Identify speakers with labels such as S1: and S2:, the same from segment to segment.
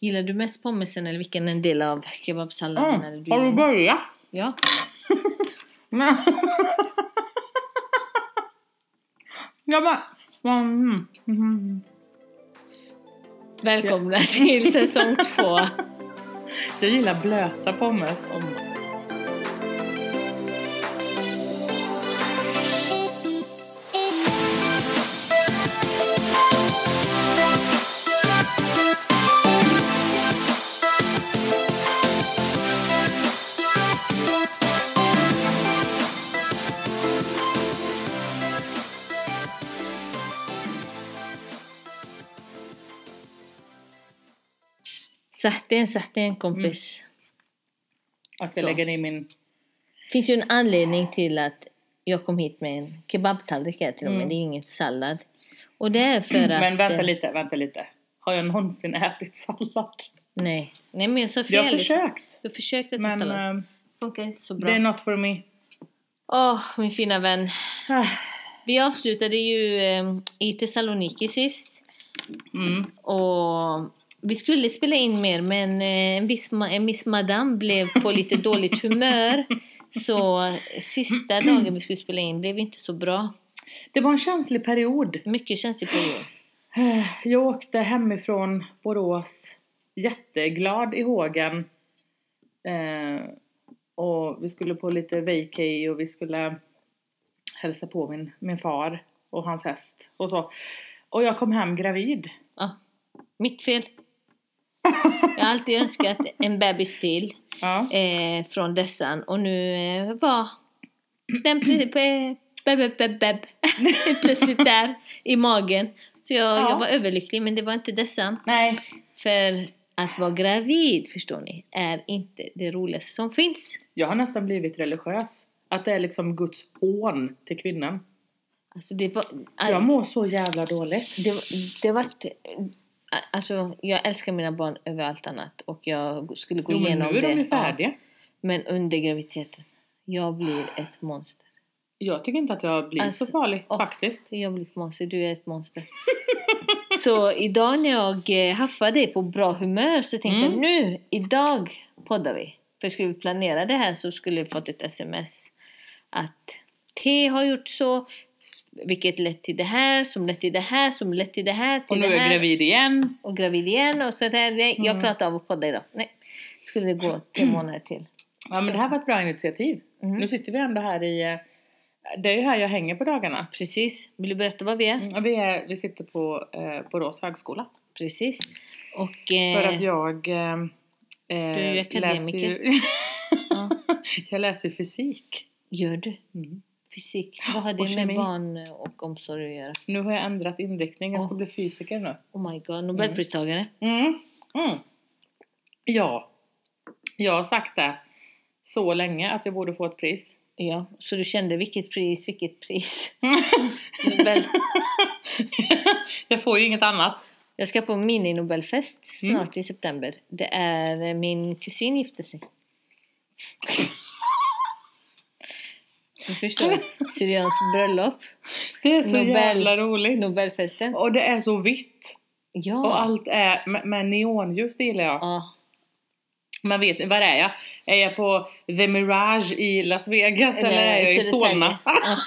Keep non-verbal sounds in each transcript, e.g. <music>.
S1: Gillar du mest pommesen eller vilken del av kebabsalladen?
S2: Mm.
S1: Eller du
S2: Har
S1: gillar-
S2: du börjat?
S1: Ja.
S2: Men- Jag bara... Mm. Mm.
S1: Välkomna till säsong två.
S2: <laughs> Jag gillar blöta pommes.
S1: Mm. Satte en, satte en kompis.
S2: Mm. Jag ska
S1: Så.
S2: lägga ner min...
S1: finns ju en anledning till att jag kom hit med en kebabtallrik här till och med.
S2: Mm.
S1: Det är ingen sallad. Och det är för att...
S2: Men vänta
S1: eh,
S2: lite, vänta lite. Har jag någonsin ätit sallad? liksom.
S1: Nej. nej, men jag sa fel.
S2: Jag har försökt.
S1: Jag försökte äta
S2: Men
S1: sallad.
S2: eh,
S1: funkar inte så
S2: det är
S1: bra.
S2: not for me.
S1: Åh, min fina vän.
S2: Ah.
S1: Vi avslutade ju eh, i Thessaloniki sist.
S2: <sighs> Mm.
S1: Och vi skulle spela in mer men eh, en viss, ma- en viss madame blev på
S2: <laughs>
S1: lite dåligt humör. Så sista dagen vi skulle spela in blev inte så bra.
S2: Det var en känslig period.
S1: Mycket känslig period.
S2: Eh, <sighs> Jag åkte hemifrån Borås jätteglad i hågen. Eh, och vi skulle på lite vacay och vi skulle hälsa på min, min far och hans häst och så. Och jag kom hem gravid.
S1: Ja, mitt fel. <laughs> Jag har alltid önskat en bebis till
S2: <laughs> Ja.
S1: eh, från dessan och nu eh, var den plötsligt, eh, be, be, be, be, be, <laughs> plötsligt där i magen. Så jag,
S2: Ja.
S1: jag var överlycklig men det var inte dessan.
S2: Nej.
S1: För att vara gravid, förstår ni, är inte det roligaste som finns.
S2: Jag har nästan blivit religiös. Att det är liksom Guds hån till kvinnan.
S1: Alltså det var...
S2: Jag mår så jävla dåligt.
S1: Det, var- det vart... Alltså, jag älskar mina barn över allt annat och jag skulle gå
S2: Jo, men
S1: igenom
S2: nu är
S1: det.
S2: de ju
S1: Ja.
S2: färdiga.
S1: Men under graviditeten, jag blir ett monster.
S2: Jag tycker inte att jag blir
S1: Alltså,
S2: så farlig
S1: åh.
S2: faktiskt.
S1: Jag blir ett monster, du är ett monster. <laughs> så idag när jag eh, haffade dig på bra humör så tänkte
S2: Mm.
S1: jag nu, idag poddar vi. För skulle vi planera det här så skulle vi fått ett sms att T har gjort så, vilket lett till det här, som lett till det här, som lett till det här, till
S2: Och nu
S1: det
S2: är
S1: här.
S2: jag gravid igen.
S1: Och gravid igen och så där. Nej, jag
S2: Mm.
S1: klarar av att podda idag. Nej, skulle det gå tre månader till.
S2: Ja men det här var ett bra initiativ.
S1: Mm.
S2: Nu sitter vi ändå här i... eh, Det är ju här jag hänger på dagarna.
S1: Precis, vill du berätta vad vi är?
S2: Mm, och Vi, är, vi sitter på eh, Borås högskola.
S1: Precis. Och... Eh,
S2: För att jag... Eh, du
S1: är ju akademiker.
S2: Ju,
S1: ja.
S2: <laughs> jag läser ju fysik.
S1: <laughs> Gör du?
S2: Mm.
S1: Fysik. Vad har
S2: Och
S1: det
S2: kemi.
S1: med barn och omsorg att göra?
S2: Nu har jag ändrat inriktning. Jag ska
S1: Åh.
S2: bli fysiker nu.
S1: Oh my god, Nobelpristagare.
S2: Mm. Mm. Ja. Jag har sagt det så länge att jag borde få ett pris.
S1: Ja, så du kände vilket pris, vilket pris? <laughs> Nobel.
S2: jag får ju inget annat.
S1: Jag ska på mini-nobelfest snart i september. Det är eh, min kusin gifte sig. Du förstår, Syrians bröllop,
S2: Det är så
S1: Nobel.
S2: jävla roligt.
S1: Nobelfesten.
S2: Och det är så vitt.
S1: Ja.
S2: Och allt är med, med neonljus, det gillar jag.
S1: ja.
S2: Man vet var är jag? Är jag på The Mirage i Las Vegas eller, är jag i
S1: Södertälje.
S2: Solna?
S1: Ja.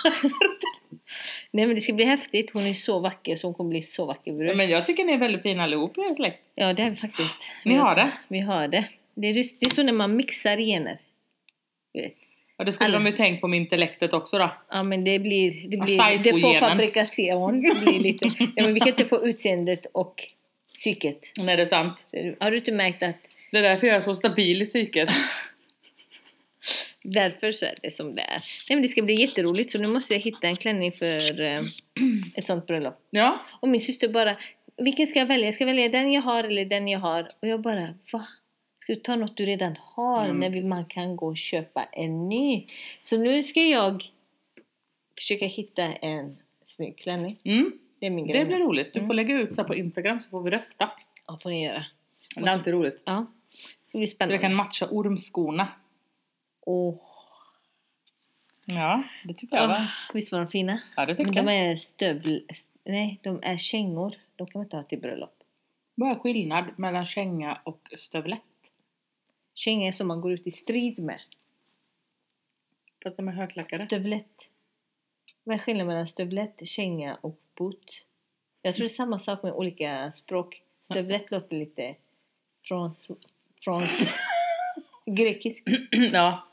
S1: Nej men det ska bli häftigt. Hon är så vacker så hon kommer bli så vacker brud.
S2: Men jag tycker ni är väldigt fina allihop i er släkt.
S1: Ja, det är vi faktiskt.
S2: <gasps> Ni
S1: Vi
S2: har det?
S1: Vi har det. Det är, just- det är så när man mixar gener. Du vet.
S2: Ja, det skulle
S1: Alla.
S2: de ju tänkt på med intellektet också då.
S1: Ja, men det blir... Det, blir,
S2: Acai
S1: det får
S2: på-genen.
S1: fabrikation. Det blir
S2: <laughs>
S1: lite... Ja, men vi kan inte få utseendet och psyket.
S2: Nej, det är sant.
S1: Så är du- Har du inte märkt att
S2: Det är därför jag är så stabil i <laughs> psyket.
S1: därför så är det som det är? Nej, men det ska bli jätteroligt. Så nu måste jag hitta en klänning för eh, ett sånt bröllop.
S2: Ja,
S1: Och min syster bara, vilken ska jag välja? Ska jag välja den jag har eller den jag har? Och jag bara, va? Ska du ta något du redan har
S2: Ja, men
S1: när vi, man
S2: precis.
S1: kan gå och köpa en ny? Så nu ska jag försöka hitta en snygg klänning.
S2: mm.
S1: Det är min grej.
S2: det blir roligt. Du
S1: Mm.
S2: får lägga ut så här på Instagram så får vi rösta.
S1: Ja, får ni göra.
S2: Det är alltid roligt.
S1: Ja. Det blir
S2: Så vi
S1: spännande.
S2: kan matcha ormskorna.
S1: Åh.
S2: Ja, det tycker jag.
S1: Åh,
S2: va?
S1: ah, visst var de fina?
S2: Ja,
S1: Men
S2: det tycker
S1: de
S2: jag.
S1: är stövel... Nej, de är kängor. De kan man inte ha till bröllop.
S2: Vad är skillnad mellan känga och stövlett?
S1: Känga är som man går ut i strid med.
S2: Fast de är högklackade.
S1: Stövlett. Vad är skillnaden mellan stövlett, känga och bot? Jag tror det är samma sak med olika språk. Stövlett låter lite från, från grekisk.
S2: <clears throat> ja,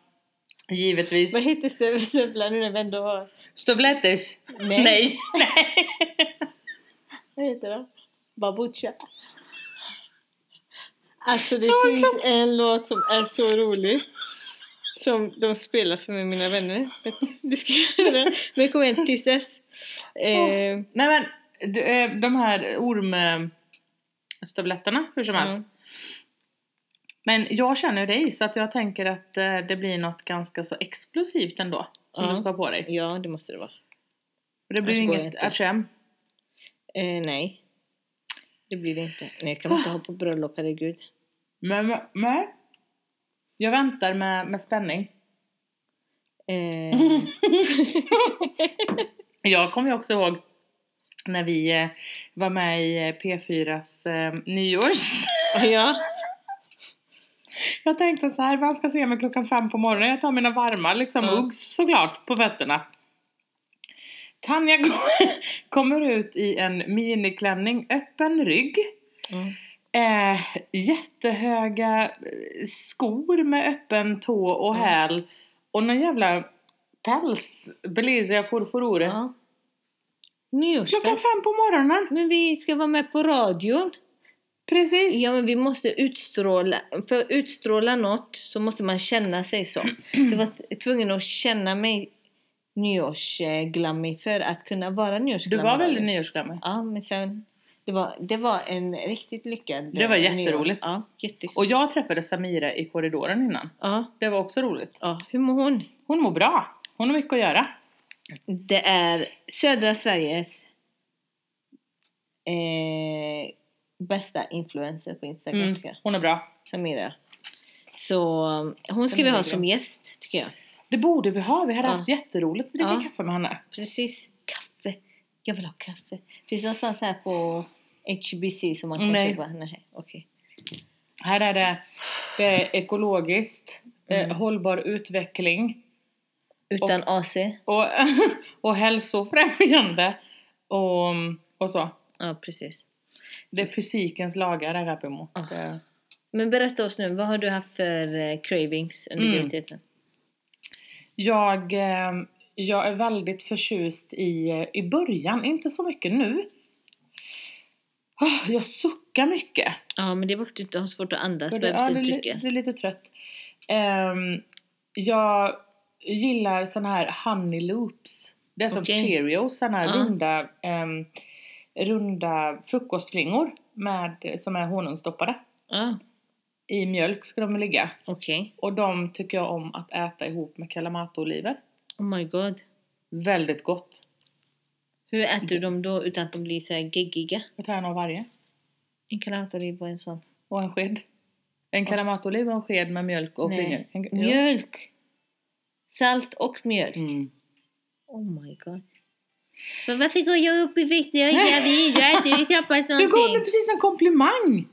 S2: givetvis.
S1: Vad heter stöv- stövlar nu när vi ändå har...
S2: Stövlettes?
S1: Nej.
S2: Nej.
S1: Vad heter de? Babucha. Alltså det finns en låt som är så rolig. Som de spelar för mig, mina vänner. <laughs> Du ska göra den. Men kom igen, tills dess. Eh,
S2: Nej men, d- eh, de här ormstövletterna hur som helst.
S1: Mm.
S2: Men jag känner ju dig så att jag tänker att eh, det blir något ganska så explosivt ändå. Som
S1: Ja.
S2: du ska ha på dig.
S1: ja, det måste det vara.
S2: Och det blir
S1: Annars
S2: ju
S1: går Mm. jag
S2: inget
S1: inte.
S2: atchem.
S1: Eh, nej. Det blir det inte. Nej, kan man inte ha på bröllop, herregud.
S2: Men, men- men. Jag väntar med, med spänning.
S1: Eh, <laughs>
S2: Jag kommer ju också ihåg när vi eh, var med i eh, P4s eh,
S1: <laughs>
S2: nyårs.
S1: ja.
S2: Jag tänkte så här, vem ska se mig klockan fem på morgonen? Jag tar mina varma liksom,
S1: Ja.
S2: Uggs såklart, på fötterna. Tanja kom- <laughs> kommer ut i en miniklänning, öppen rygg.
S1: Mm.
S2: Eh, jättehöga eh, skor med öppen tå och
S1: Mm.
S2: häl. Och någon jävla päls, Belizia Furfurure.
S1: ja.
S2: Klockan
S1: Nyårsfest.
S2: fem på morgonen!
S1: Men vi ska vara med på radion.
S2: Precis!
S1: Ja, men vi måste utstråla. För att utstråla något så måste man känna sig så. Så jag var tvungen att känna mig nyårsglammig för att kunna vara
S2: du
S1: nyårsglammig.
S2: var väldigt nyårsglammig.
S1: Ja, men sen... Det var, det var en riktigt lyckad...
S2: Det var
S1: eh, nyår.
S2: jätteroligt.
S1: Ja, jättekul.
S2: Och jag träffade Samira i korridoren innan.
S1: Ja,
S2: Det var också roligt.
S1: ja, hur mår hon?
S2: Hon mår bra. Hon har mycket att göra.
S1: Det är södra Sveriges eh, bästa influencer på Instagram,
S2: Mm,
S1: tycker jag.
S2: hon är bra.
S1: Samira. Så um, hon ska vi
S2: Samira
S1: ha
S2: Glenn.
S1: som gäst, tycker jag.
S2: Det borde vi ha. Vi hade
S1: Ja.
S2: haft jätteroligt att dricka
S1: Ja.
S2: kaffe med henne.
S1: Precis. Kaffe. Jag vill ha kaffe. Finns det någonstans här på HBC som man kan
S2: Nej.
S1: köpa? Nej. Okej.
S2: Här är det, det är ekologiskt,
S1: Mm.
S2: eh, hållbar utveckling
S1: Utan AC?
S2: och, <laughs> och hälsofrämjande. Och, och så.
S1: Ja, precis.
S2: Det är fysikens lagar här Rapimo.
S1: Ja.
S2: Det-
S1: eh, Men berätta oss nu, vad har du haft för eh, cravings under
S2: Mm.
S1: graviditeten?
S2: Jag, eh, jag är väldigt förtjust i, eh, i början, inte så mycket nu. Ah, Jag suckar mycket.
S1: Ja, men det var för att du inte har svårt att andas,
S2: För det- ja, det, är li-
S1: bebisutrycket.
S2: det är lite trött. Ehm, jag gillar såna här honey loops. Det är som
S1: Okej.
S2: cheerios, såna här
S1: Ja.
S2: runda, ehm, runda frukostflingor med, som är honungsdoppade.
S1: Ja,
S2: I mjölk ska de ligga.
S1: okej.
S2: Och de tycker jag om att äta ihop med kalamata-oliver.
S1: Oh my god.
S2: Väldigt gott.
S1: Hur äter du dem då utan att de blir så här geggiga?
S2: Jag tar en av varje.
S1: En kalantaoliv och en sån.
S2: Och en sked. En kalamata-oliv och en sked med mjölk och flingor.
S1: Nej.
S2: En- ja.
S1: Mjölk! Salt och mjölk.
S2: Mm.
S1: Oh my god. Men varför går jag upp i vikt när jag är gravid? Jag äter ju <laughs> knappast
S2: Du gav mig
S1: någonting.
S2: precis en komplimang!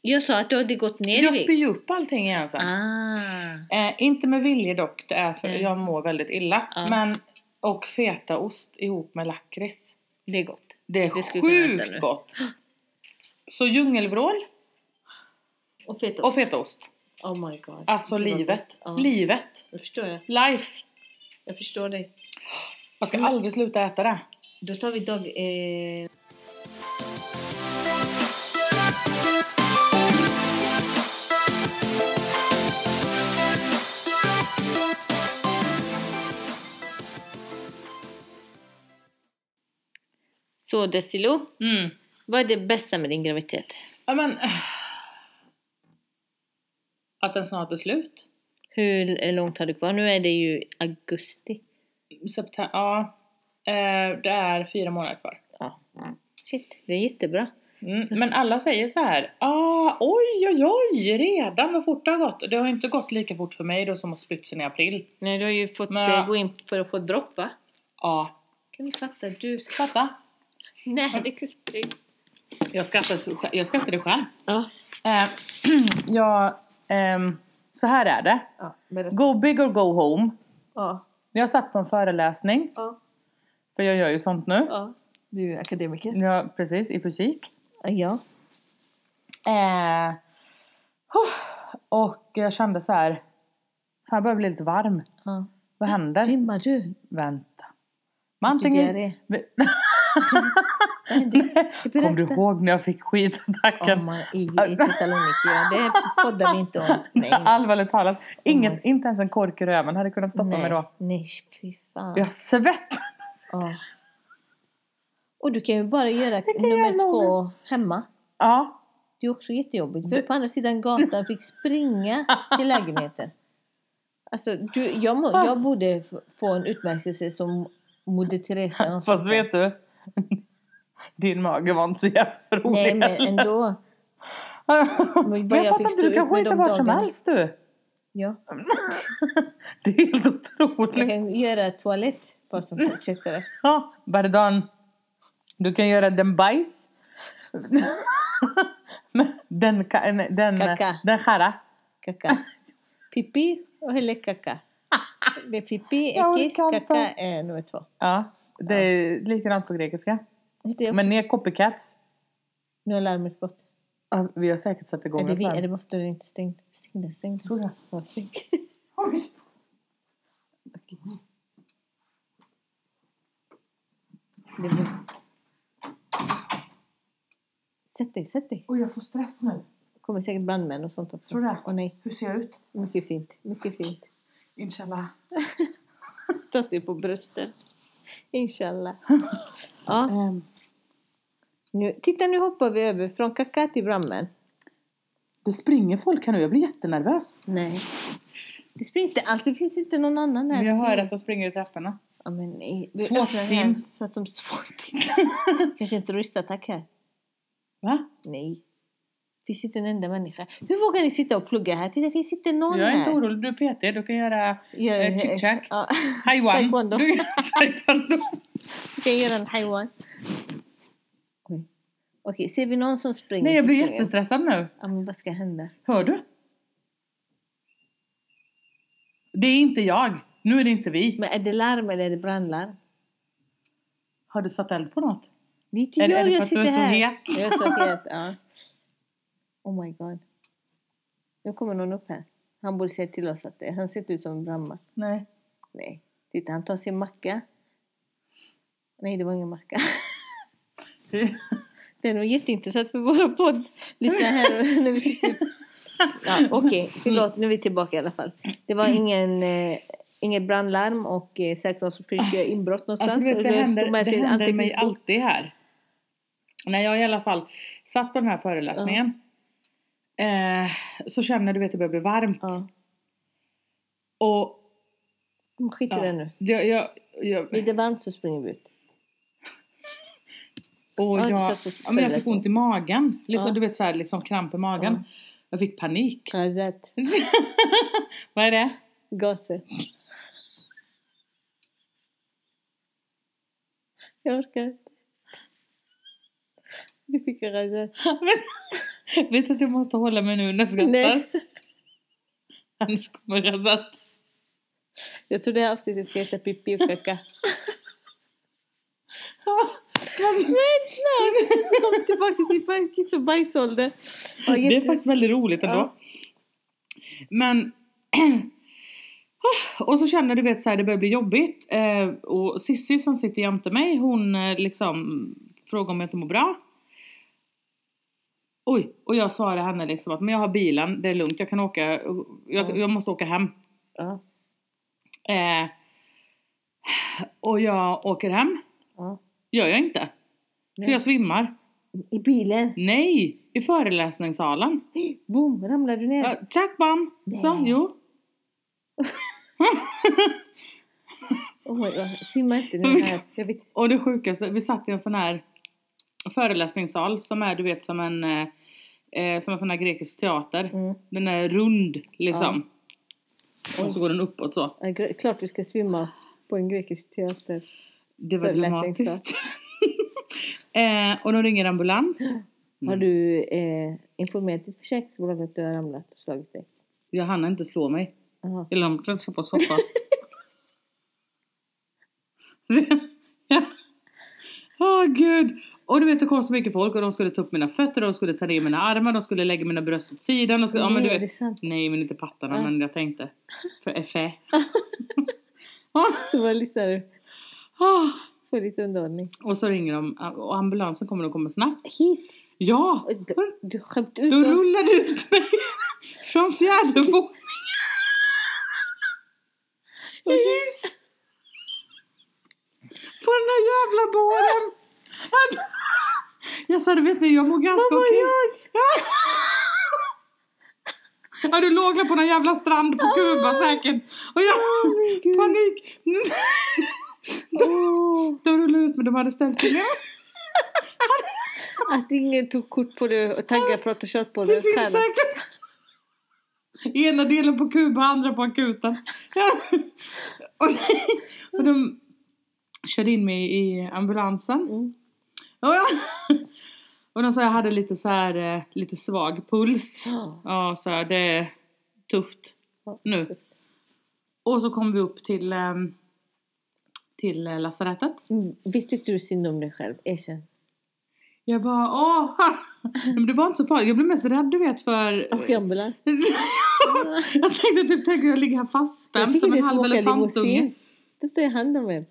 S1: Jag sa att du hade gått ner i
S2: Jag
S1: vikt.
S2: spyr ju upp allting igen sen.
S1: Ah.
S2: Eh, inte med vilje dock, det är för
S1: Mm.
S2: jag mår väldigt illa.
S1: Ja.
S2: Men, och fetaost ihop med lakrits.
S1: Det är gott.
S2: Det är
S1: Det skulle kunna äta
S2: sjukt
S1: nu.
S2: gott! Så djungelvrål
S1: Och fetaost.
S2: och fetaost.
S1: Oh my god.
S2: Alltså
S1: Det var
S2: livet.
S1: gott. Ja.
S2: Livet.
S1: Jag förstår jag.
S2: Life.
S1: Jag förstår dig.
S2: Jag ska
S1: Mm.
S2: aldrig sluta äta det.
S1: Då tar vi dag... Eh... Så Desilo,
S2: Mm.
S1: vad är det bästa med din graviditet?
S2: Ja, men, äh. Att den snart är slut.
S1: Hur eh, långt har du kvar? Nu är det ju augusti.
S2: September, ja. Eh, det är fyra månader kvar.
S1: Ja. Shit, det är jättebra.
S2: Mm, men alla säger så här, ah, oj oj oj, redan vad fort det har gått. Det har inte gått lika fort för mig då som har splitsen i april.
S1: Nej, du har ju fått
S2: Men-
S1: eh, gå in för att få droppa.
S2: Ja,
S1: Kan du fatta? Du ska...
S2: fatta.
S1: Nej, det är spring.
S2: Jag skrattade, så- jag skrattade själv.
S1: Ja.
S2: Eh, <clears throat> jag, ehm, så här är det.
S1: Ja, berätta.
S2: Go big or go home.
S1: Ja,
S2: Jag satt på en föreläsning,
S1: ja,
S2: för jag gör ju sånt nu.
S1: ja. Du är akademiker.
S2: Ja, precis, i fysik.
S1: Ja.
S2: Eh, huh. och jag kände så här, fan jag börjar bli lite varm.
S1: ja.
S2: Vad händer? Typ.
S1: Simmar du?
S2: Vänta. Man
S1: Fick du
S2: antingen...
S1: diarré?
S2: <laughs> Nej.
S1: Nej, <laughs> det- det
S2: Kom du
S1: berätta.
S2: ihåg när jag fick skitattacken?
S1: Om
S2: <laughs>
S1: man, i, i Thessaloniki, ja. Det poddar vi inte om. <laughs> Nej. Oh
S2: Allvarligt talat, inget,
S1: my-
S2: inte ens en kork i röven hade kunnat stoppa
S1: nej,
S2: mig då.
S1: Nej, fy fan.
S2: Jag svettas.
S1: Ja. Och du kan ju bara göra
S2: Vilken
S1: nummer
S2: jävla
S1: två hemma.
S2: <laughs> Ja,
S1: Det är också jättejobbigt.
S2: Du-
S1: Du på andra sidan gatan fick springa
S2: <laughs>
S1: till lägenheten. Alltså, du, jag, må, jag borde f- få en utmärkelse som Moder Teresa. eller något
S2: fast
S1: sånt där.
S2: vet du. <laughs> Din mage var inte så jävla rolig.
S1: Nej,
S2: <laughs>
S1: men ändå.
S2: men jag,
S1: jag
S2: fattar
S1: fick
S2: inte,
S1: stå
S2: du
S1: ut
S2: kan
S1: med
S2: skita
S1: de
S2: vart som
S1: dagarna.
S2: helst du. <laughs>
S1: Ja.
S2: Det är helt
S1: Jag
S2: otroligt.
S1: kan göra toalett. Vad
S2: <laughs>
S1: som helst. jättebra.
S2: Ja, Bardan. Du kan göra den bajs. <laughs> Men den, ka- nej, den,
S1: Kaka.
S2: den skära.
S1: Kaka. Pipi och eller kaka. Det är pipi, är
S2: Jag
S1: kiss,
S2: orkar inte.
S1: kaka är nummer två.
S2: Ja, det är likadant på grekiska.
S1: Heter det-
S2: Men ni är copycats.
S1: Nu har larmet gått.
S2: Ja, Alltså, vi har säkert satt igång
S1: Är det,
S2: ett
S1: vi-
S2: larm.
S1: är det bara för att den inte är stängd? Stäng den, stäng den.
S2: Tror jag.
S1: Ja, stäng.
S2: Oj.
S1: Det blir... Sätt dig, sätt dig.
S2: Oj, jag får stress nu.
S1: Det kommer säkert brandmän och sånt också.
S2: Tror du det?
S1: Åh nej,
S2: Hur ser jag ut?
S1: mycket fint, mycket fint.
S2: Inshallah.
S1: Ta sig på brösten. Inshallah. Ja,
S2: Ehm,
S1: nu, titta nu hoppar vi över från kaka till brandmän.
S2: det springer folk här nu. Jag blir jättenervös.
S1: Nej. Det springer inte alls, det finns inte någon annan här.
S2: Men jag hör att de springer i trapporna.
S1: Ja, men nej. Vi
S2: SWAT
S1: öppnar
S2: team.
S1: här Så att de... SWAT-team. Kanske en terroristattack här.
S2: Va?
S1: Nej. Det finns inte en enda människa. Hur vågar ni sitta och plugga här? Titta, det finns inte någon
S2: jag är
S1: här.
S2: inte orolig. Du är PT. Du kan göra
S1: Gör en-
S2: eh, chick-chack.
S1: Ja,
S2: Taiwan.
S1: Taekwondo.
S2: Du kan
S1: <laughs>
S2: taekwondo.
S1: du kan göra en haiwan. Oj. Okej, ser vi någon som springer
S2: Nej, jag
S1: så
S2: blir
S1: springer
S2: jättestressad nu.
S1: Ja, men vad ska hända?
S2: Hör du? Det är inte jag. Nu är det inte vi.
S1: Men är det larm eller är det brandlarm?
S2: Har du satt eld på något?
S1: Det är inte
S2: Eller är
S1: jag,
S2: det för
S1: jag
S2: att du
S1: sitter
S2: är så
S1: här.
S2: het?
S1: Jag är så het, ja. Oh my god. Nu kommer någon upp här. Han borde säga till oss att det, han ser inte ut som en brandman.
S2: Nej.
S1: Nej. Titta, han tar sin macka. Nej, det var ingen macka. Det är nog jätteintressant för våra podd. Lyssna här och- när vi sitter... Ja, Okej, förlåt. Nu är vi tillbaka i alla fall. Det var ingen, eh, inget brandlarm och eh, säkert någon som försökte göra inbrott någonstans.
S2: Alltså, du vet,
S1: och
S2: det
S1: jag stod
S2: händer,
S1: med
S2: det
S1: sin
S2: händer mig
S1: anteckningsbok.
S2: alltid här. När jag i alla fall satt på den här föreläsningen eh, så känner jag, du vet det börjar bli varmt.
S1: Ja,
S2: Och
S1: men skit i
S2: ja,
S1: det nu.
S2: Jag, jag, jag,
S1: Blir det varmt så springer vi ut.
S2: och
S1: Ja, du
S2: jag,
S1: satt på
S2: ja, men jag fick
S1: föreläsning.
S2: ont i magen. Liksom,
S1: Ja.
S2: Du vet så här, liksom kramp i magen.
S1: Ja.
S2: Jag fick panik.
S1: Gazette.
S2: Vad är det? <laughs>
S1: Gaser. Jag orkar inte. Du fick en gazette.
S2: Men- vet att jag måste hålla mig nu när jag skrattar.
S1: Nej.
S2: Annars kommer jag att... <laughs>
S1: Jag tror det här avsnittet ska heta Pippi och Kaka. Men snart! <laughs> Så kom vi tillbaka till baj- kiss och bajsålder. Ja,
S2: Det är
S1: jätte-
S2: faktiskt väldigt roligt ändå.
S1: Ja.
S2: Men... <clears throat> oh, Och så känner du vet så här, det börjar bli jobbigt. Eh, och Sissi som sitter jämte mig, hon eh, liksom frågar om jag inte mår bra. Oj, och jag svarar henne liksom att men jag har bilen, det är lugnt, jag kan åka, jag,
S1: Mm.
S2: jag måste åka hem.
S1: Ja,
S2: Eh, och jag åker hem,
S1: ja.
S2: gör jag inte. För
S1: Nej.
S2: jag svimmar.
S1: I bilen.
S2: Nej, i föreläsningssalen.
S1: Boom, ramlade du ner.
S2: Ja, Tack bam! Så,
S1: Nej.
S2: jo. <laughs>
S1: Oh my god, svimma inte nu här. Jag vet.
S2: Och det sjukaste, vi satt i en sån här föreläsningssal som är du vet som en eh, eh, som en sån här grekisk teater.
S1: Mm.
S2: Den är rund liksom. Och så går den uppåt så.
S1: Ja, gre- klart vi ska svimma på en grekisk teater.
S2: Det var
S1: Föreläsningssal.
S2: dramatiskt. <laughs> Eh, och de ringer ambulans.
S1: Har
S2: Mm.
S1: du eh, informerat ditt försäkringsbolag att du har ramlat och slagit dig?
S2: Jag hann inte slå mig.
S1: Jaha.
S2: Eller de plötsligt
S1: <laughs>
S2: på soffan. <laughs> Åh gud! Och du vet det kom så mycket folk och de skulle ta upp mina fötter, de skulle ta ner mina armar, de skulle lägga mina bröst åt sidan. De skulle, ja, men du
S1: Nej, det är
S2: vet,
S1: sant. <laughs>
S2: nej men inte pattarna
S1: Ja.
S2: men
S1: <laughs>
S2: jag tänkte. För E. effä.
S1: Så bara lyssnar får lite underhållning.
S2: och så ringer de och ambulansen kommer och kommer snabbt.
S1: Hit!
S2: Ja!
S1: Oj, Du, du skämt ut
S2: Då
S1: oss.
S2: rullade du ut mig <laughs> från fjärde våningen. I hiss. På den här jävla båren. Att- Jag sa, du vet ni, jag mår ganska
S1: Vad var
S2: okej. <laughs> Ja, du låg där på någon jävla strand på Kuba säkert. Och jag,
S1: min gud.
S2: panik. Mm.
S1: Åh,
S2: De rullade ut men de hade ställt till det.
S1: att ingen tog kort på dig och taggade protoshot på dig.
S2: Det finns
S1: Stjärna.
S2: säkert. Ena delen på Kuba, andra på akuten. <laughs> och, och de körde in mig i ambulansen.
S1: Mm.
S2: Och, jag, och de sa jag hade lite så här, eh, lite svag puls.
S1: Ja.
S2: Ja, så här, det är tufft nu. Och så kom vi upp till, ehm, till eh, lasarettet.
S1: Mm, Visst tyckte du synd om dig själv? Erkänn.
S2: Jag bara, åh! Men det var inte så farligt. Jag blev mest rädd du vet för...
S1: Och gambelar.
S2: <laughs> jag tänkte typ, tänk att jag ligger här
S1: Jag
S2: fastspänd
S1: tycker
S2: som
S1: det
S2: en
S1: är som
S2: halv
S1: att åka
S2: elefantunge.
S1: limousin. Då tar jag hand om en.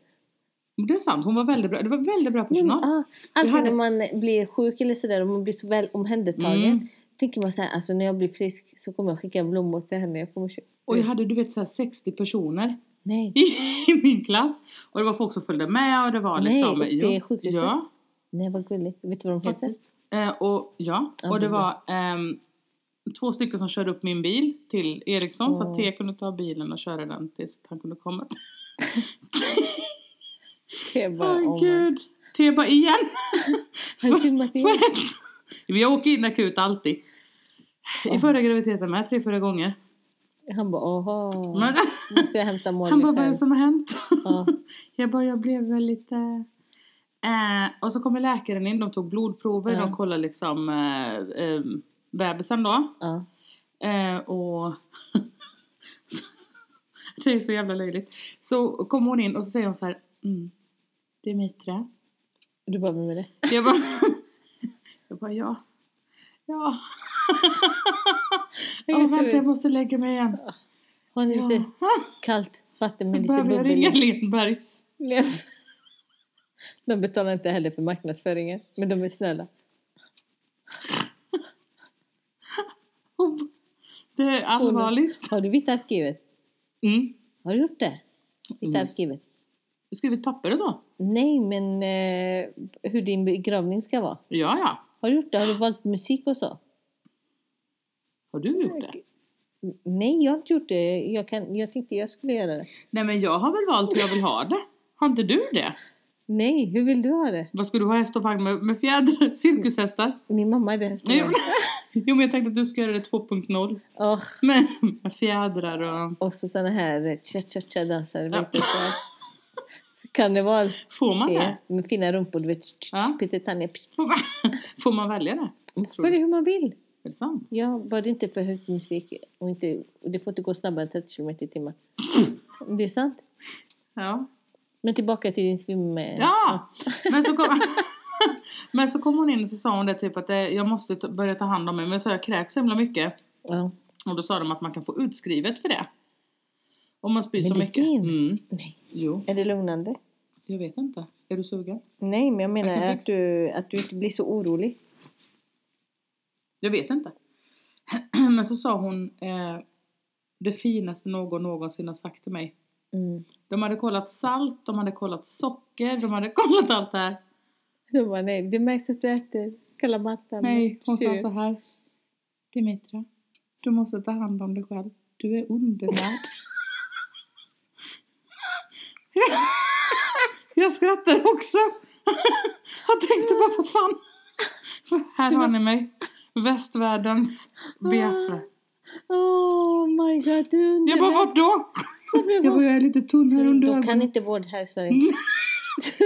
S2: Men Det är sant, hon var väldigt bra. Det var väldigt bra
S1: Mm,
S2: personal.
S1: ah,
S2: Vi
S1: alltid
S2: hade-
S1: när man blir sjuk eller sådär och man blir så väl omhändertagen.
S2: Mm.
S1: Tänker man såhär, alltså när jag blir frisk så kommer jag skicka blommor till henne. Jag kommer köpa.
S2: Och jag hade du vet så här 60 personer <laughs>
S1: Nej,
S2: i, min klass. Och det var folk som följde med och det var
S1: Nej,
S2: liksom...
S1: uppe i
S2: jo,
S1: sjukhuset.
S2: Ja,
S1: nej vad gulligt. Vet du vad de heter?
S2: faktiskt. Eh, och ja,
S1: Ja,
S2: och det
S1: det
S2: var ehm, två stycken som körde upp min bil till Eriksson så att
S1: Åh.
S2: T kunde ta bilen och köra den tills att han kunde komma.
S1: Jag
S2: Åh
S1: bara, oh my.
S2: gud! T bara igen!
S1: Har du simmat in?
S2: Men jag åker in akut alltid. I
S1: Ja.
S2: förra graviditeten med, tre, fyra gånger.
S1: Han bara, aha.
S2: Men,
S1: Måste jag hämta Molly
S2: han bara, vad är
S1: själv?
S2: det som har hänt?
S1: Ja.
S2: <laughs> Jag bara, jag blev väl lite... Eh, och så kommer läkaren in, de tog blodprover,
S1: Ja.
S2: de kollade liksom eh, eh, bebisen då.
S1: Ja.
S2: Eh, och... <laughs> det är så jävla löjligt. Så kommer hon in och så säger hon så här, mm, det är Mitra.
S1: Du bara, vem är det?
S2: Jag bara, <laughs> jag bara ja. Ja.
S1: Jag
S2: Åh,
S1: ser
S2: vänta,
S1: det.
S2: jag måste lägga mig igen.
S1: Har ni
S2: Ja.
S1: lite kallt vatten med
S2: Då
S1: lite
S2: behöver jag ringa
S1: bubbel i?
S2: Lindbergs.
S1: De betalar inte heller för marknadsföringen, men de är snälla.
S2: Hon- Oh. Det är allvarligt.
S1: Har du Vita arkivet?
S2: Mm.
S1: Har du gjort det? Vita
S2: Mm.
S1: arkivet?
S2: Du skrivit papper och så?
S1: Nej, men eh, hur din begravning ska vara.
S2: Ja, ja.
S1: Har du gjort det? Har du valt musik och så?
S2: Har du gjort det?
S1: N- Nej, jag har inte gjort det. Jag, kan, jag tänkte jag skulle göra det.
S2: Nej, men jag har väl valt hur jag vill ha det. Har inte du det?
S1: Nej, hur vill du ha det?
S2: Vad ska du ha häst och vagn med, med fjädrar? <laughs> Cirkushästar?
S1: Min mamma är det.
S2: Nej, <laughs> jo, men jag tänkte att du ska göra det 2.0.
S1: Och,
S2: Med, med fjädrar och... <laughs>
S1: och så såna här eh, cha-cha-cha-dansare.
S2: Ja.
S1: vet du, så här. Karneval.
S2: Får man
S1: tjejer
S2: det?
S1: Med fina rumpor, du vet.
S2: Ja.
S1: Pyttetanja.
S2: Får man- Får man välja det?
S1: Man
S2: Tror
S1: får
S2: du?
S1: det hur man vill.
S2: Är det sant?
S1: Ja, bara det inte är för hög musik. Och, inte, och det får inte gå snabbare än 30 km i timmen. Det är sant.
S2: Ja.
S1: Men tillbaka till din svim... eh,
S2: Ja! Men så kom, <laughs> men så kom hon in och så sa hon det typ att eh, jag måste ta- börja ta hand om mig. Men så har jag kräks så himla mycket.
S1: ja.
S2: Och då sa de att man kan få utskrivet för det. Om man spyr så mycket.
S1: Medicin?
S2: Mm.
S1: Nej.
S2: Jo,
S1: Är det lugnande?
S2: jag vet inte. Är du sugen?
S1: Nej, men jag menar
S2: Jag kan
S1: att,
S2: fixa.
S1: du, att du inte blir så orolig.
S2: Jag vet inte. <clears throat> Men så sa hon eh, det finaste någon någonsin har sagt till mig.
S1: Mm.
S2: De hade kollat salt, de hade kollat socker, de hade <laughs> kollat allt det här.
S1: De bara, nej, det märks att du äter kalla mattan.
S2: Nej, hon sa
S1: Tjur.
S2: så här. Dimitra, du måste ta hand om dig själv. Du är undernärd. <laughs> Jag skrattade också. <laughs> Jag tänkte bara, vad fan. Här har ni mig. Västvärldens Biafra.
S1: Ah. Oh my god, du är
S2: Jag bara, vart då?
S1: underbar.
S2: Jag bara, jag är lite tunn här
S1: Så
S2: under
S1: De kan
S2: ögonen.
S1: inte vård här i Sverige.
S2: Mm.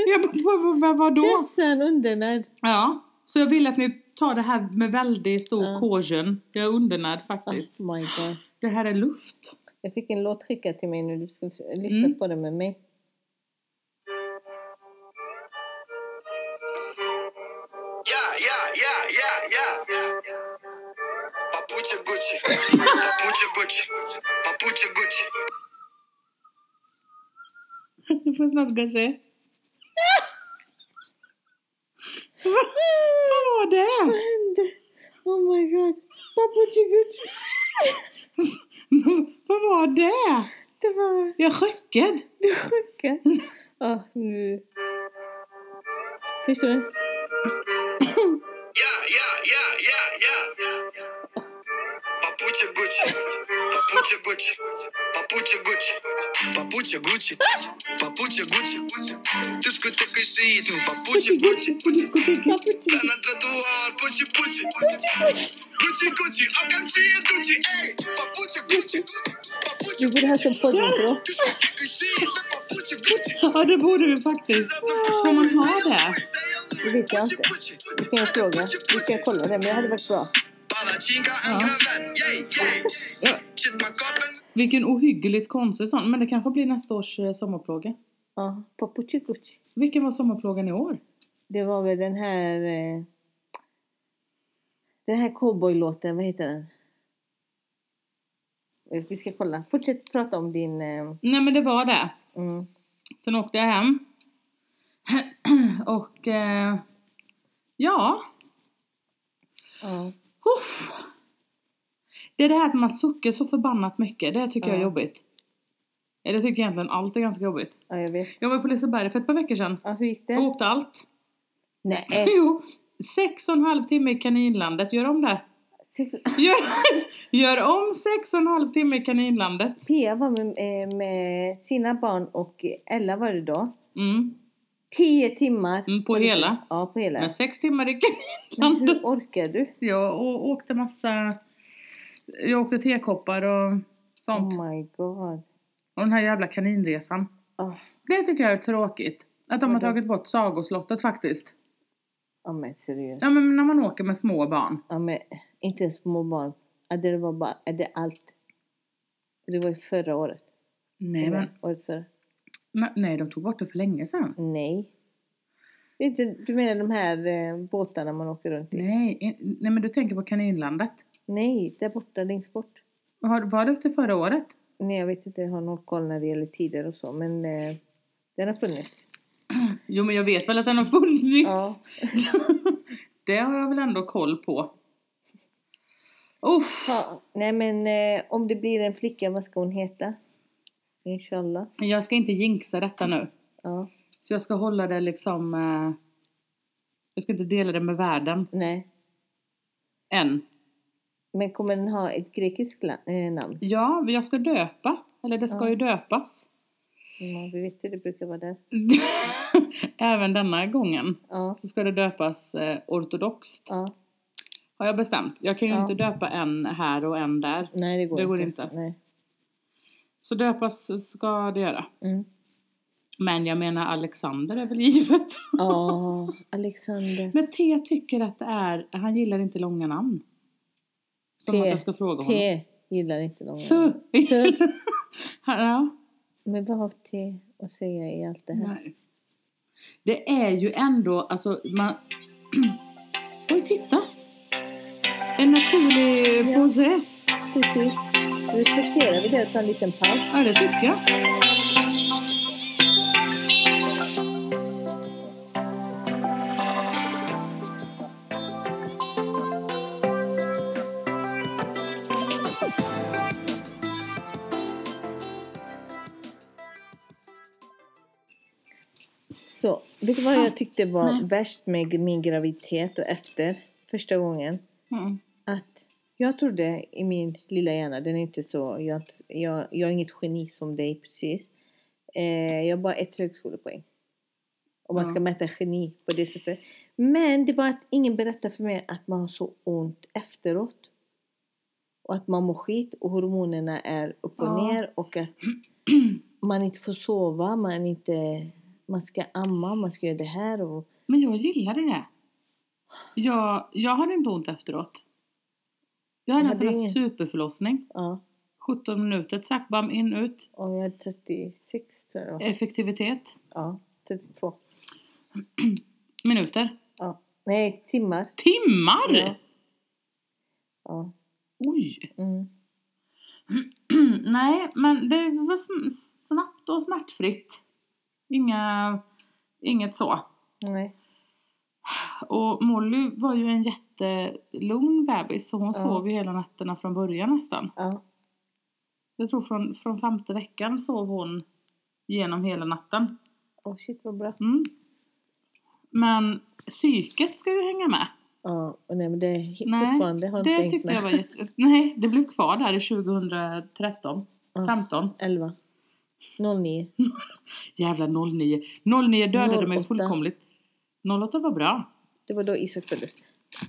S2: Jag bara, vad, vad, vad, vadå?
S1: Det är så en undernärd.
S2: Ja. Så jag vill att ni tar det här med väldigt stor
S1: Ja.
S2: caution. Jag är undernärd
S1: Oh
S2: faktiskt.
S1: my god.
S2: Det här är luft.
S1: Jag fick en låt skickad till mig nu. Du ska f- lyssna
S2: Mm.
S1: på den med mig.
S3: Yeah, yeah, yeah, yeah, yeah. Papucha Gucci. Papucha Gucci. Papucha Gucci.
S2: Du får snabba sig. Vad vad var det?
S1: hände? Oh my god. Papuchi Gucci.
S2: Vad var det?
S1: Det var...
S2: Jag är chockad.
S1: Du är chockad. Ja, nu... Förstår du?
S3: Yeah, yeah, yeah, yeah, yeah. Papucha Gucci. Papucha Gucci. Papucha Gucci. Papucha Gucci. Papucha Gucci. Ти ж котикий шиїтну, папучі гучі.
S2: På diskoteket.
S3: Та на тротуар, пучі пучі. Гучі гучі, а камчі є дучі. Ей, папуча гучі. Папуча
S1: Du borde ha som poddintro.
S3: Ти ж котикий шиїтну, папучі гучі.
S2: Ja, det borde vi faktiskt. Får man ha det?
S1: Det vet jag inte. Det kan jag fråga. Vi ska kolla det, men det hade varit bra.
S2: Ja. Vilken ohyggligt konstig sån. Men det kanske blir nästa års eh, sommarplåga.
S1: Ja, Papuchi Gucci.
S2: Vilken var sommarplågan i år?
S1: Det var väl den här... Eh, den här cowboylåten, vad heter den? Eh, Vi ska kolla. Fortsätt prata om din... Eh,
S2: Nej, men det var det.
S1: mm.
S2: Sen åkte jag hem. <clears throat> Och eh, ja,
S1: ja.
S2: Uff. Det är det här att man suckar så förbannat mycket, det tycker jag är
S1: Ja.
S2: jobbigt. Ja, Det tycker jag egentligen allt är ganska jobbigt.
S1: ja, jag vet.
S2: Jag var på Liseberg för ett par veckor sedan
S1: Ja, hur gick
S2: och
S1: det?
S2: åkte allt.
S1: Nej.
S2: <laughs>
S1: eh,
S2: Jo, sex och en halv timme i Kaninlandet, gör om det. Gör, <laughs> gör om sex och en halv timme i Kaninlandet.
S1: Pia var med, eh, med sina barn och Ella var det då.
S2: Mm.
S1: Tio timmar.
S2: Mm, på
S1: Var det så?
S2: hela?
S1: Ja, på hela.
S2: Men sex timmar i
S1: Men
S2: Kaninlandet.
S1: hur orkar du?
S2: <laughs> Jag och åkte massa, jag åkte tekoppar och sånt.
S1: Oh my god.
S2: Och den här jävla kaninresan.
S1: Oh,
S2: Det tycker jag är tråkigt. Att de har
S1: Vadå?
S2: tagit bort sagoslottet faktiskt.
S1: ja, men seriöst.
S2: Ja men när man åker med små barn.
S1: Ja, men inte ens små barn. Ja, det var bara, ja, det är allt. Det var ju förra året.
S2: Nej
S1: Eller
S2: men,
S1: Året förra.
S2: ne- nej de tog bort det för länge sedan.
S1: Nej. Det är inte- Du menar de här eh, båtarna man åker runt i?
S2: Nej, i- nej men du tänker på Kaninlandet.
S1: Nej, där borta längst bort.
S2: Har, var det efter förra året?
S1: Nej, jag vet inte, jag har noll koll när det gäller tider och så, men eh, den har funnits.
S2: Jo men jag vet väl att den har funnits.
S1: Ja.
S2: <laughs> det har jag väl ändå koll på. Uff.
S1: Ja, nej, men eh, om det blir en flicka, vad ska hon heta? Inshallah.
S2: Jag ska inte jinxa detta nu.
S1: Ja,
S2: Så jag ska hålla det liksom... Eh, jag ska inte dela det med världen.
S1: nej.
S2: Än.
S1: Men kommer den ha ett grekiskt la- eh, namn?
S2: Ja, men jag ska döpa. Eller det ska
S1: Ja.
S2: ju döpas. <laughs>
S1: Ja, vi vet hur det brukar vara där.
S2: Även denna gången
S1: Ja,
S2: så ska det döpas eh, ortodoxt.
S1: ja.
S2: Har jag bestämt. Jag kan ju
S1: Ja.
S2: inte döpa en här och en där.
S1: Nej, det går
S2: Det
S1: inte.
S2: går inte.
S1: Nej.
S2: Så döpas ska det göra.
S1: Mm.
S2: Men jag menar Alexander är väl givet. <laughs>
S1: Ja, Alexander.
S2: Men T tycker att det är, han gillar inte långa namn. Som
S1: T.
S2: att jag ska fråga honom.
S1: T gillar inte de.
S2: T.
S1: T.
S2: <laughs> ja.
S1: Men vad har T att säga i allt det här?
S2: Nej. Det är ju ändå, alltså man... Oj, titta! En naturlig
S1: Ja.
S2: posé.
S1: Precis. Respekterar vi det och tar en liten paus?
S2: Ja, det tycker jag.
S1: Så, vet du vad jag tyckte var
S2: Nej.
S1: värst med min graviditet och efter första gången?
S2: Mm.
S1: Att jag trodde i min lilla hjärna, den är inte så, jag, jag, jag är inget geni som dig precis. Eh, jag har bara ett högskolepoäng. Om man
S2: Ja.
S1: ska mäta geni på det sättet. Men det var att ingen berättade för mig att man har så ont efteråt. Och att man mår skit och hormonerna är upp och
S2: Ja. <clears throat>
S1: ner och att man inte får sova, man inte... man ska amma, man ska göra det här och...
S2: Men jag gillade det. Jag, jag hade inte ont efteråt. Jag hade
S1: Jag
S2: en sån
S1: hade
S2: här
S1: ingen-
S2: superförlossning.
S1: Ja.
S2: 17 minuter, zack, bam, in, ut.
S1: Och jag är 36 tror jag det var.
S2: Effektivitet,
S1: Ja, 32.
S2: minuter.
S1: Ja. Nej, timmar.
S2: Timmar!
S1: Ja. Ja.
S2: Oj! <clears throat>
S1: Mm.
S2: Nej, men det var sm- snabbt och smärtfritt. Inga, inget så.
S1: Nej.
S2: Och Molly var ju en jättelugn bebis så hon
S1: Ja.
S2: sov ju hela nätterna från början nästan.
S1: Ja.
S2: Jag tror från, från femte veckan sov hon genom hela natten.
S1: Åh shit vad bra.
S2: Mm. Men psyket ska ju hänga med.
S1: Ja, och nej men det är
S2: Nej,
S1: fortfarande har jag
S2: det
S1: inte hängt
S2: tyckte
S1: med.
S2: jag var jätte... Nej, det blev kvar där i 2013.
S1: Ja.
S2: 15.
S1: 11. 09.
S2: Jävla 09. 09 dödade mig
S1: 08.
S2: fullkomligt. 08 var bra.
S1: Det var då Isak föddes.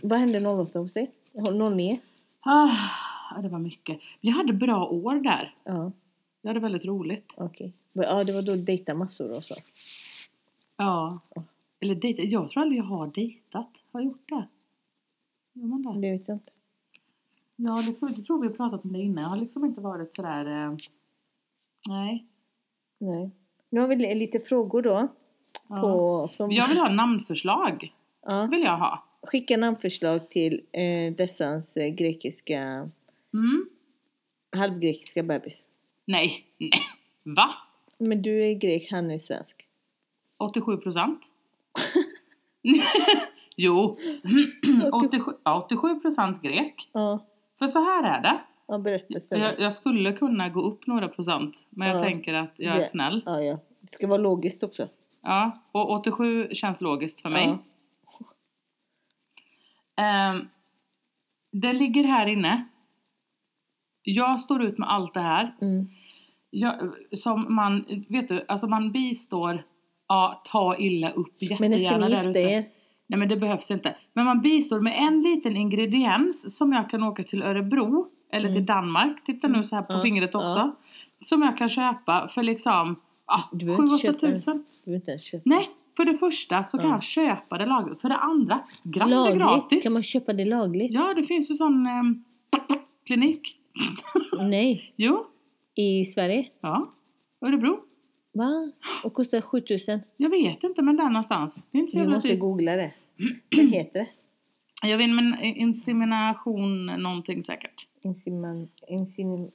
S1: Vad hände 08 hos dig? 09?
S2: Ah, det var mycket. Men jag hade bra år där.
S1: Ja,
S2: Jag hade väldigt roligt.
S1: okej. Ja, det var då dejta massor och så.
S2: Ja. Eller dejta. Jag tror aldrig jag har dejtat. Har jag gjort det? Gör man det?
S1: Det vet jag inte.
S2: Jag, har liksom, jag tror vi har pratat om det innan. Jag har liksom inte varit sådär... Eh, nej.
S1: Nej. Nu har vi li- lite frågor då.
S2: Ja.
S1: På, från,
S2: Jag vill ha namnförslag.
S1: ja.
S2: vill jag ha.
S1: Skicka namnförslag till eh, dessans eh, grekiska,
S2: Mm.
S1: halvgrekiska bebis.
S2: Nej. Nej. Va?
S1: Men du är grek, han är svensk.
S2: 87 procent? <laughs> jo. <clears throat> 87, ja, 87 procent grek.
S1: Ja,
S2: För så här är det.
S1: ja berätta för mig.
S2: Jag, jag skulle kunna gå upp några procent. Men jag
S1: Ja.
S2: tänker att jag är
S1: Ja.
S2: snäll.
S1: Ja, ja. Det ska vara logiskt också.
S2: Ja. Och 87 känns logiskt för mig.
S1: Ja.
S2: Ehm, det ligger här inne. Jag står ut med allt det här.
S1: Mm.
S2: Jag, som man, vet du, alltså man bistår, ja, ta illa upp jättegärna
S1: Men när ska ni
S2: där
S1: gifta
S2: ute.
S1: er?
S2: Nej men det behövs inte. Men man bistår med en liten ingrediens som jag kan åka till Örebro eller
S1: Mm.
S2: till Danmark. Titta nu så här på
S1: Ja,
S2: fingret
S1: ja.
S2: också. Som jag kan köpa för liksom ah,
S1: Du behöver inte
S2: 7-8
S1: köpa den.
S2: tusen.
S1: Du behöver inte ens köpa.
S2: Nej, för det första så kan
S1: Ja.
S2: jag köpa det lagligt. För det andra, gra- det är
S1: Lagligt?
S2: gratis.
S1: Kan man köpa det lagligt?
S2: Ja, det finns ju sån ehm, klinik.
S1: Nej.
S2: Jo,
S1: I Sverige?
S2: ja. Örebro.
S1: Va? Och kostar 7000?
S2: Jag vet inte, men där någonstans. Det är inte så
S1: Vi
S2: jävla
S1: måste
S2: dyrt.
S1: googla det. Vad heter det?
S2: Jag vill med en insemination någonting säkert.
S1: Insiman... Insin...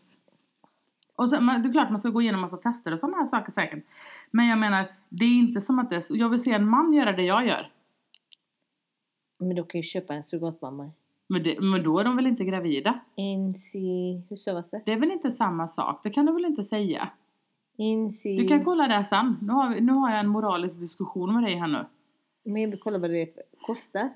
S2: Och sen, men det är klart man ska gå igenom massa tester och sådana här saker säkert. Men jag menar, det är inte som att det är, så- jag vill se en man göra det jag gör.
S1: Men då kan ju köpa en surrogatmamma.
S2: Men, det, men då är de väl inte gravida?
S1: Insi... Hur stavas det?
S2: Det är väl inte samma sak? Det kan du väl inte säga?
S1: Insi...
S2: Du kan kolla det sen. Nu har, vi, nu har jag en moralisk diskussion med dig här nu.
S1: Men jag vill kolla vad det kostar.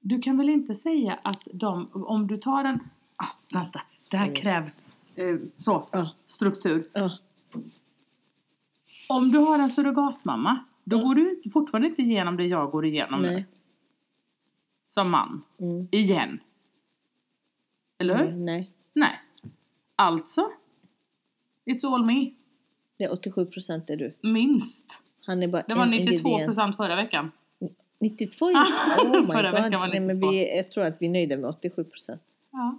S2: Du kan väl inte säga att de, om du tar en... Ah, vänta, det här
S1: Mm.
S2: krävs eh, så,
S1: Ja.
S2: struktur.
S1: Ja.
S2: Om du har en surrogatmamma, då går du inte- fortfarande inte igenom det jag går igenom nu.
S1: Mm. Nej.
S2: Som man.
S1: Mm.
S2: Igen. Eller hur?
S1: Nej, Nej.
S2: Nej. Alltså. It's all me.
S1: Det är 87 procent är du.
S2: Minst.
S1: Han är bara
S2: Det var
S1: en
S2: 92
S1: ingrediens.
S2: procent förra veckan.
S1: 92 just Oh my
S2: <laughs> Förra veckan
S1: god.
S2: var
S1: Nej, men
S2: 92.
S1: vi, jag tror att vi är nöjda med 87 procent.
S2: Ja.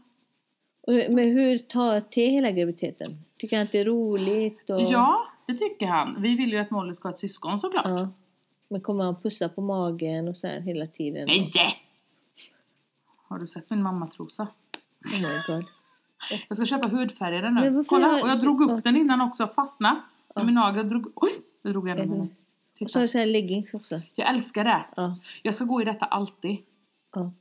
S1: Men hur tar T hela graviditeten? Tycker han att det är roligt? Och...
S2: ja, det tycker han. Vi vill ju att Molly ska ha ett syskon såklart.
S1: ja. Men kommer han pussa på magen och så här hela tiden?
S2: Nej! Har du sett min mammatrosa?
S1: Oh my god.
S2: Jag ska köpa hudfärgade
S1: Men
S2: nu.
S1: varför
S2: Kolla,
S1: har-
S2: och jag drog upp
S1: Ja.
S2: den innan också. Fastna.
S1: Ja.
S2: Min nagel drog... Oj! Jag drog
S1: Jag
S2: igenom
S1: tror-
S2: den.
S1: Och så
S2: Titta.
S1: har du så här leggings också.
S2: Jag älskar det.
S1: Ja,
S2: Jag ska gå i detta alltid.
S1: ja.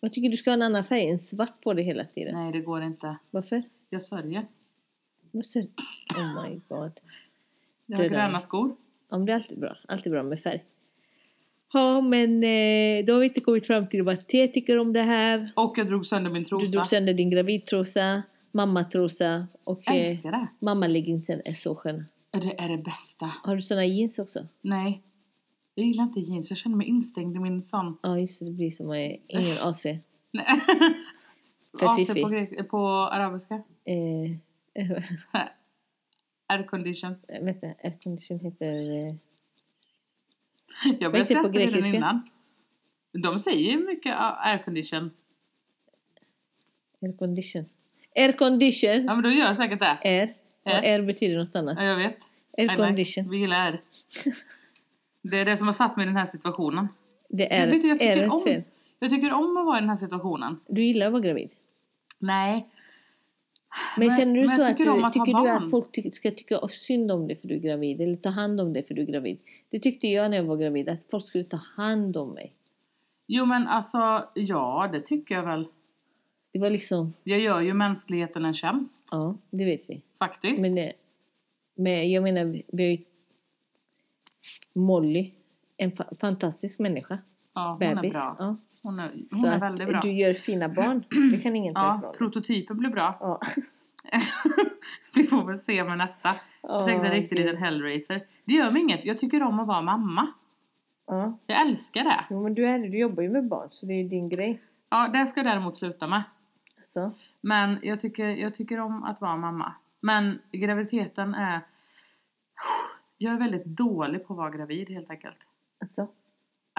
S1: Jag tycker du ska ha en annan färg än svart på dig hela tiden.
S2: Nej, det går inte.
S1: Varför?
S2: Jag sörjer.
S1: Måste... Oh my god.
S2: Jag har
S1: Det där.
S2: gröna skor.
S1: Ja, men det är alltid bra. Alltid bra med färg. Ja, men eh, då har vi inte kommit fram till vad T tycker om det här.
S2: Och jag drog sönder min trosa.
S1: Du drog sönder din gravidtrosa, mammatrosa och
S2: Jag
S1: eh,
S2: älskar det.
S1: mammalegginsen är så skön.
S2: Det är det bästa.
S1: Har du såna jeans också?
S2: Nej. Jag gillar inte jeans. Jag känner mig instängd i min sån...
S1: Ja, just det. Det blir som eh, ingen
S2: Äh.
S1: AC. Eh,
S2: Nej.
S1: För
S2: <laughs> AC
S1: fiffi.
S2: på, grek- på arabiska.
S1: <laughs>
S2: Air condition.
S1: eh, vänta, aircondition heter... Eh,
S2: Jag började
S1: Tänkte på
S2: skratta redan
S1: grekiska.
S2: innan. De säger ju mycket ah, aircondition.
S1: Air condition. Air condition.
S2: Ja Äh. men då gör jag säkert det.
S1: Air. Och
S2: Air.
S1: air betyder något annat.
S2: Ja, jag vet. I
S1: Air
S2: like.
S1: condition.
S2: Vi gillar
S1: <laughs>
S2: air. Det är det som har satt mig i den här situationen.
S1: Det
S2: Jag,
S1: är
S2: vet, du, jag, tycker
S1: airens
S2: om,
S1: fel.
S2: jag tycker om att vara i den här situationen.
S1: Du gillar att vara gravid.
S2: Nej.
S1: Men,
S2: Men-
S1: känner du
S2: men jag
S1: så att
S2: tycker
S1: du,
S2: om att ha
S1: tycker du
S2: barn.
S1: att folk ty- ska tycka synd om dig för du är gravid? Eller ta hand om dig för du är gravid? Det tyckte jag när jag var gravid, att folk skulle ta hand om mig.
S2: Jo men alltså, ja det tycker jag väl.
S1: Det var liksom,
S2: Jag gör ju mänskligheten en tjänst.
S1: ja, det vet vi.
S2: Faktiskt.
S1: Men, eh, men jag menar, vi- vi har ju Molly, en fa- fantastisk människa,
S2: ja, hon
S1: bebis.
S2: är bra.
S1: Ja.
S2: Hon är, hon
S1: Så
S2: är
S1: att
S2: väldigt bra.
S1: du gör fina barn, det kan ingen ta
S2: Ja,
S1: ifrån dig.
S2: prototypen blir bra. <laughs>
S1: Ja.
S2: Vi får väl se med nästa. Det är säkert en
S1: Åh,
S2: riktig
S1: gud.
S2: liten hellraiser. Det gör mig inget. Jag tycker om att vara mamma.
S1: Ja.
S2: Jag älskar det.
S1: Jo, men du, är, du jobbar ju med barn, så det är ju din grej. Alltså,
S2: Ja, det ska jag däremot sluta med.
S1: Så.
S2: Men jag tycker, jag tycker om att vara mamma. Men graviditeten är... Jag är väldigt dålig på att vara gravid helt enkelt.
S1: Alltså,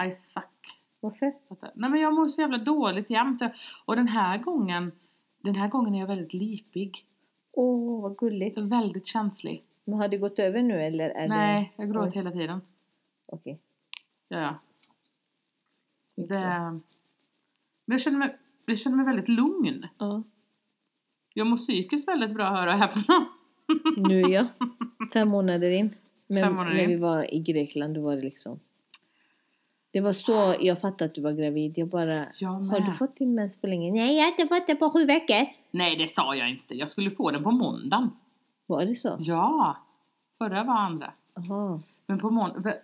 S2: I suck.
S1: varför?
S2: Fattar. Nej men jag mår så jävla dåligt jämt. Och den här gången, den här gången är jag väldigt lipig.
S1: Åh, vad gulligt.
S2: Väldigt känslig.
S1: Men har det gått över nu eller? Är Det...
S2: Nej, jag gråter
S1: Oj.
S2: hela tiden.
S1: Okej.
S2: Ja, ja. Det... Men jag känner, mig, jag känner mig väldigt lugn.
S1: Ja.
S2: Jag mår psykiskt väldigt bra, hör och häpna.
S1: Nu är jag fem månader in. Men
S2: Fem månader
S1: när
S2: in.
S1: vi var i Grekland då var det liksom... Det var så jag fattade att du var gravid. Jag bara...
S2: Jag
S1: Har du
S2: med.
S1: fått din mens på länge? Nej, jag har inte fått det på sju veckor.
S2: Nej, det sa jag inte. Jag skulle få den på måndagen.
S1: Var det så?
S2: Ja, förra var andra.
S1: Jaha.
S2: Men på måndag...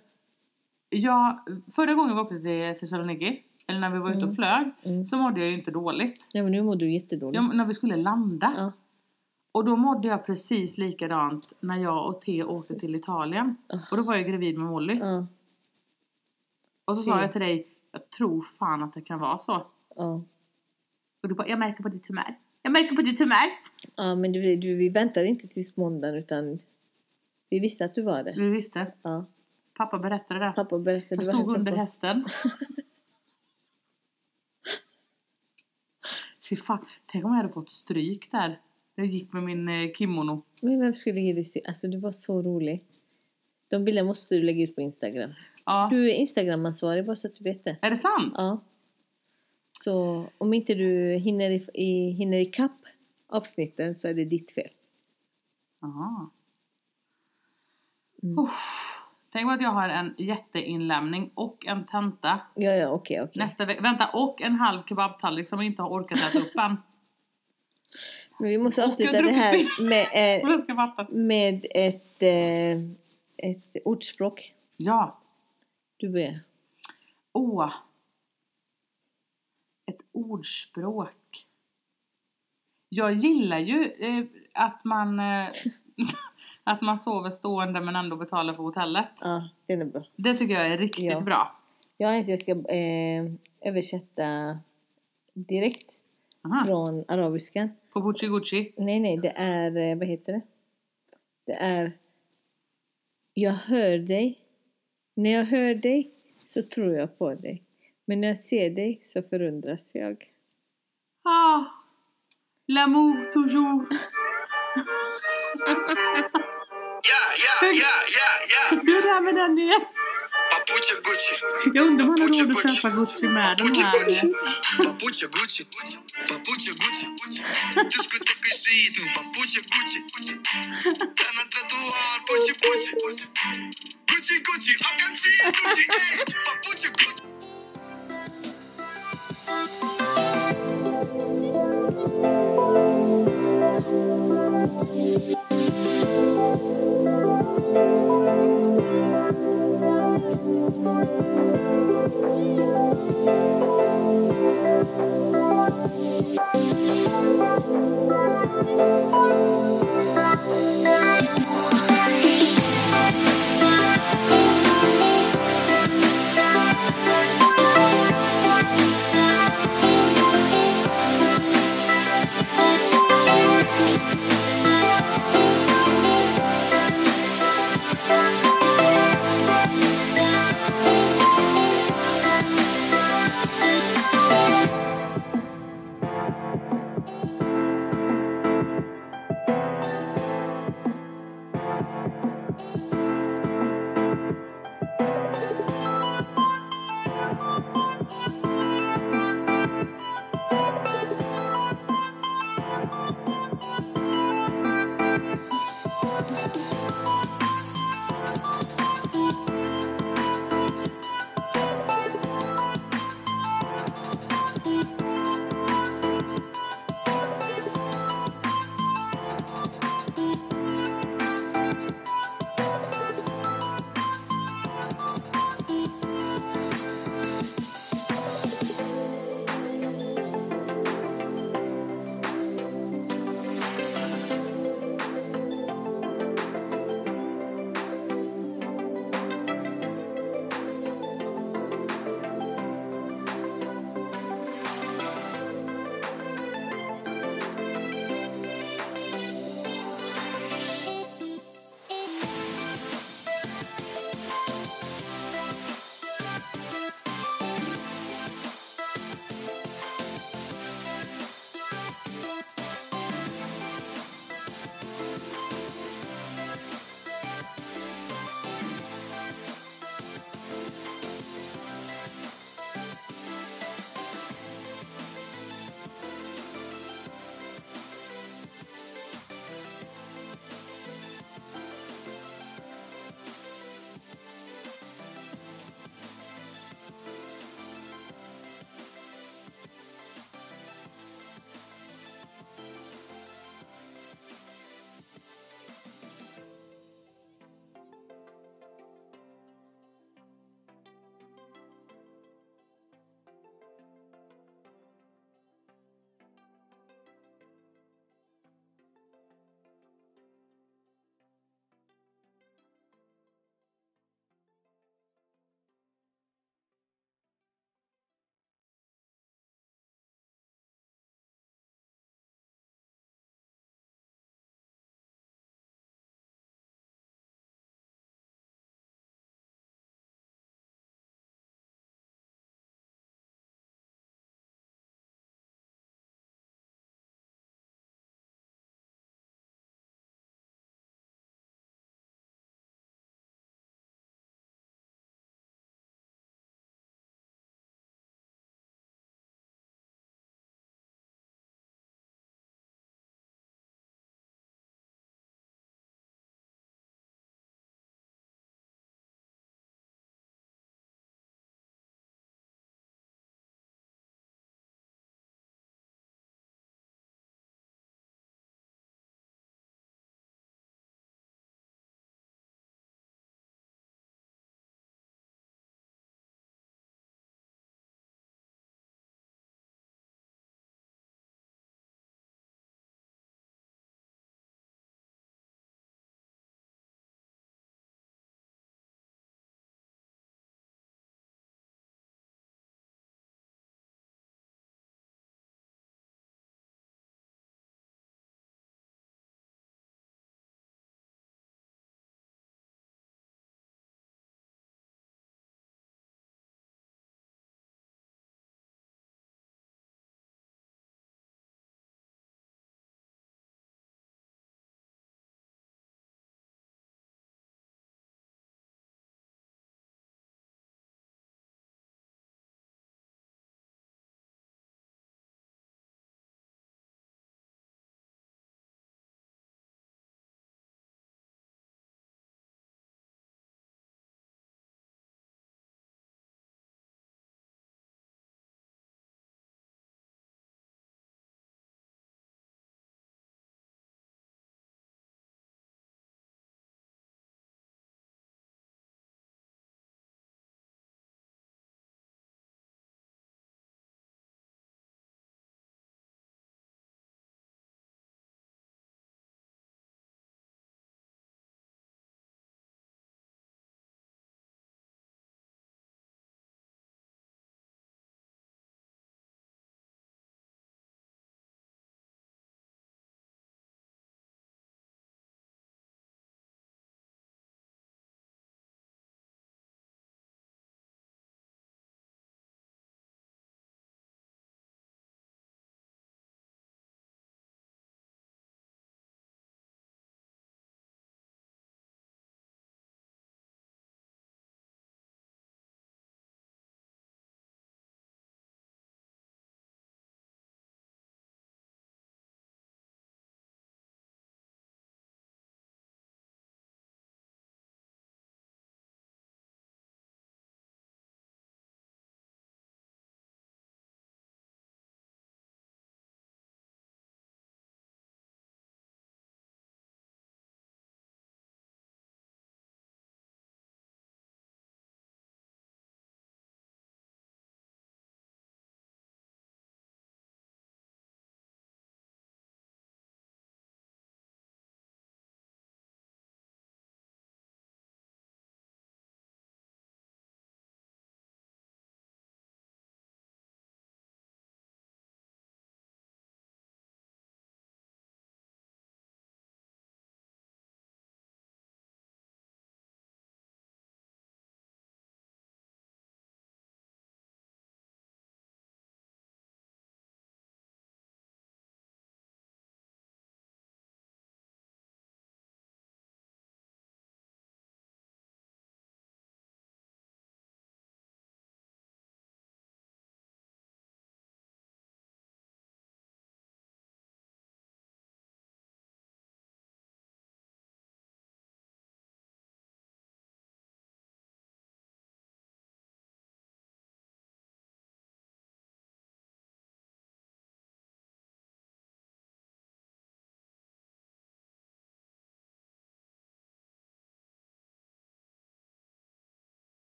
S2: Ja, förra gången vi åkte till Thessaloniki, eller när vi var ute och
S1: Mm.
S2: flög,
S1: Mm.
S2: så mådde jag ju inte dåligt.
S1: Nej, men nu mår du jättedåligt.
S2: Jag, när vi skulle landa.
S1: Ja.
S2: Och då mådde jag precis likadant när jag och T åkte till Italien. Och då var jag gravid med Molly.
S1: Ja.
S2: Och så sa
S1: Fy.
S2: jag till dig, jag tror fan att det kan vara så.
S1: Ja.
S2: Och du bara, jag märker på ditt humör. Jag märker på ditt humör.
S1: Ja, men du, du, vi väntade inte tills måndagen utan... Vi visste att du var det.
S2: Vi visste.
S1: Ja.
S2: Pappa berättade det.
S1: Pappa berättade
S2: Jag
S1: vad han
S2: stod
S1: sa
S2: under
S1: på-
S2: hästen.
S1: <laughs>
S2: Fy fan, tänk om jag hade fått stryk där. Jag gick med min eh, kimono.
S1: Men vem skulle ge dig sy- Alltså du var så rolig. De bilderna måste du lägga ut på Instagram.
S2: Ja.
S1: Du är Instagram-ansvarig bara så att du vet det.
S2: Är det sant?
S1: Ja. Så om inte du hinner, i, i, hinner ikapp avsnitten så är det ditt fel.
S2: Jaha.
S1: Mm.
S2: Uff. Tänk att jag har en jätteinlämning och en tenta
S1: Ja, ja, okej, okej.
S2: nästa vecka. Vänta, och en halv kebabtallrik som jag inte har orkat äta
S1: <laughs>
S2: upp än.
S1: Men vi måste
S2: Och jag
S1: avsluta
S2: har
S1: det här
S2: druckit
S1: med, eh,
S2: Och den ska vatten.
S1: med ett, eh, ett ordspråk.
S2: Ja.
S1: Du börjar.
S2: Åh. Ett ordspråk. Jag gillar ju eh, att man eh, <laughs> att man sover stående men ändå betalar för hotellet.
S1: Ja, den är bra.
S2: Det tycker jag är riktigt
S1: Ja.
S2: bra.
S1: Jag är inte- jag ska eh, översätta direkt
S2: Aha.
S1: från arabiskan.
S2: På Gucci Gucci.
S1: Typ- Nej, nej, det är... eh, Vad heter det? Det är... Jag hör dig. När jag hör dig så tror jag på dig. Men när jag ser dig så förundras jag.
S2: Ah. L'amour toujours.
S3: Yeah, yeah, yeah, yeah, yeah.
S2: Du där med den igen.
S3: Papuche Gucci.
S2: Jag undrar om han har råd att köpa Gucci med den
S3: Gucci,
S2: här. eh,
S3: Gucci. Papuche Gucci. Papuche Gucci. Du skulle tänka i skiten. Papuche Gucci. Kan han tatuar Gucci Gucci. Gucci Gucci. I can see Gucci. ey. Papuche Gucci.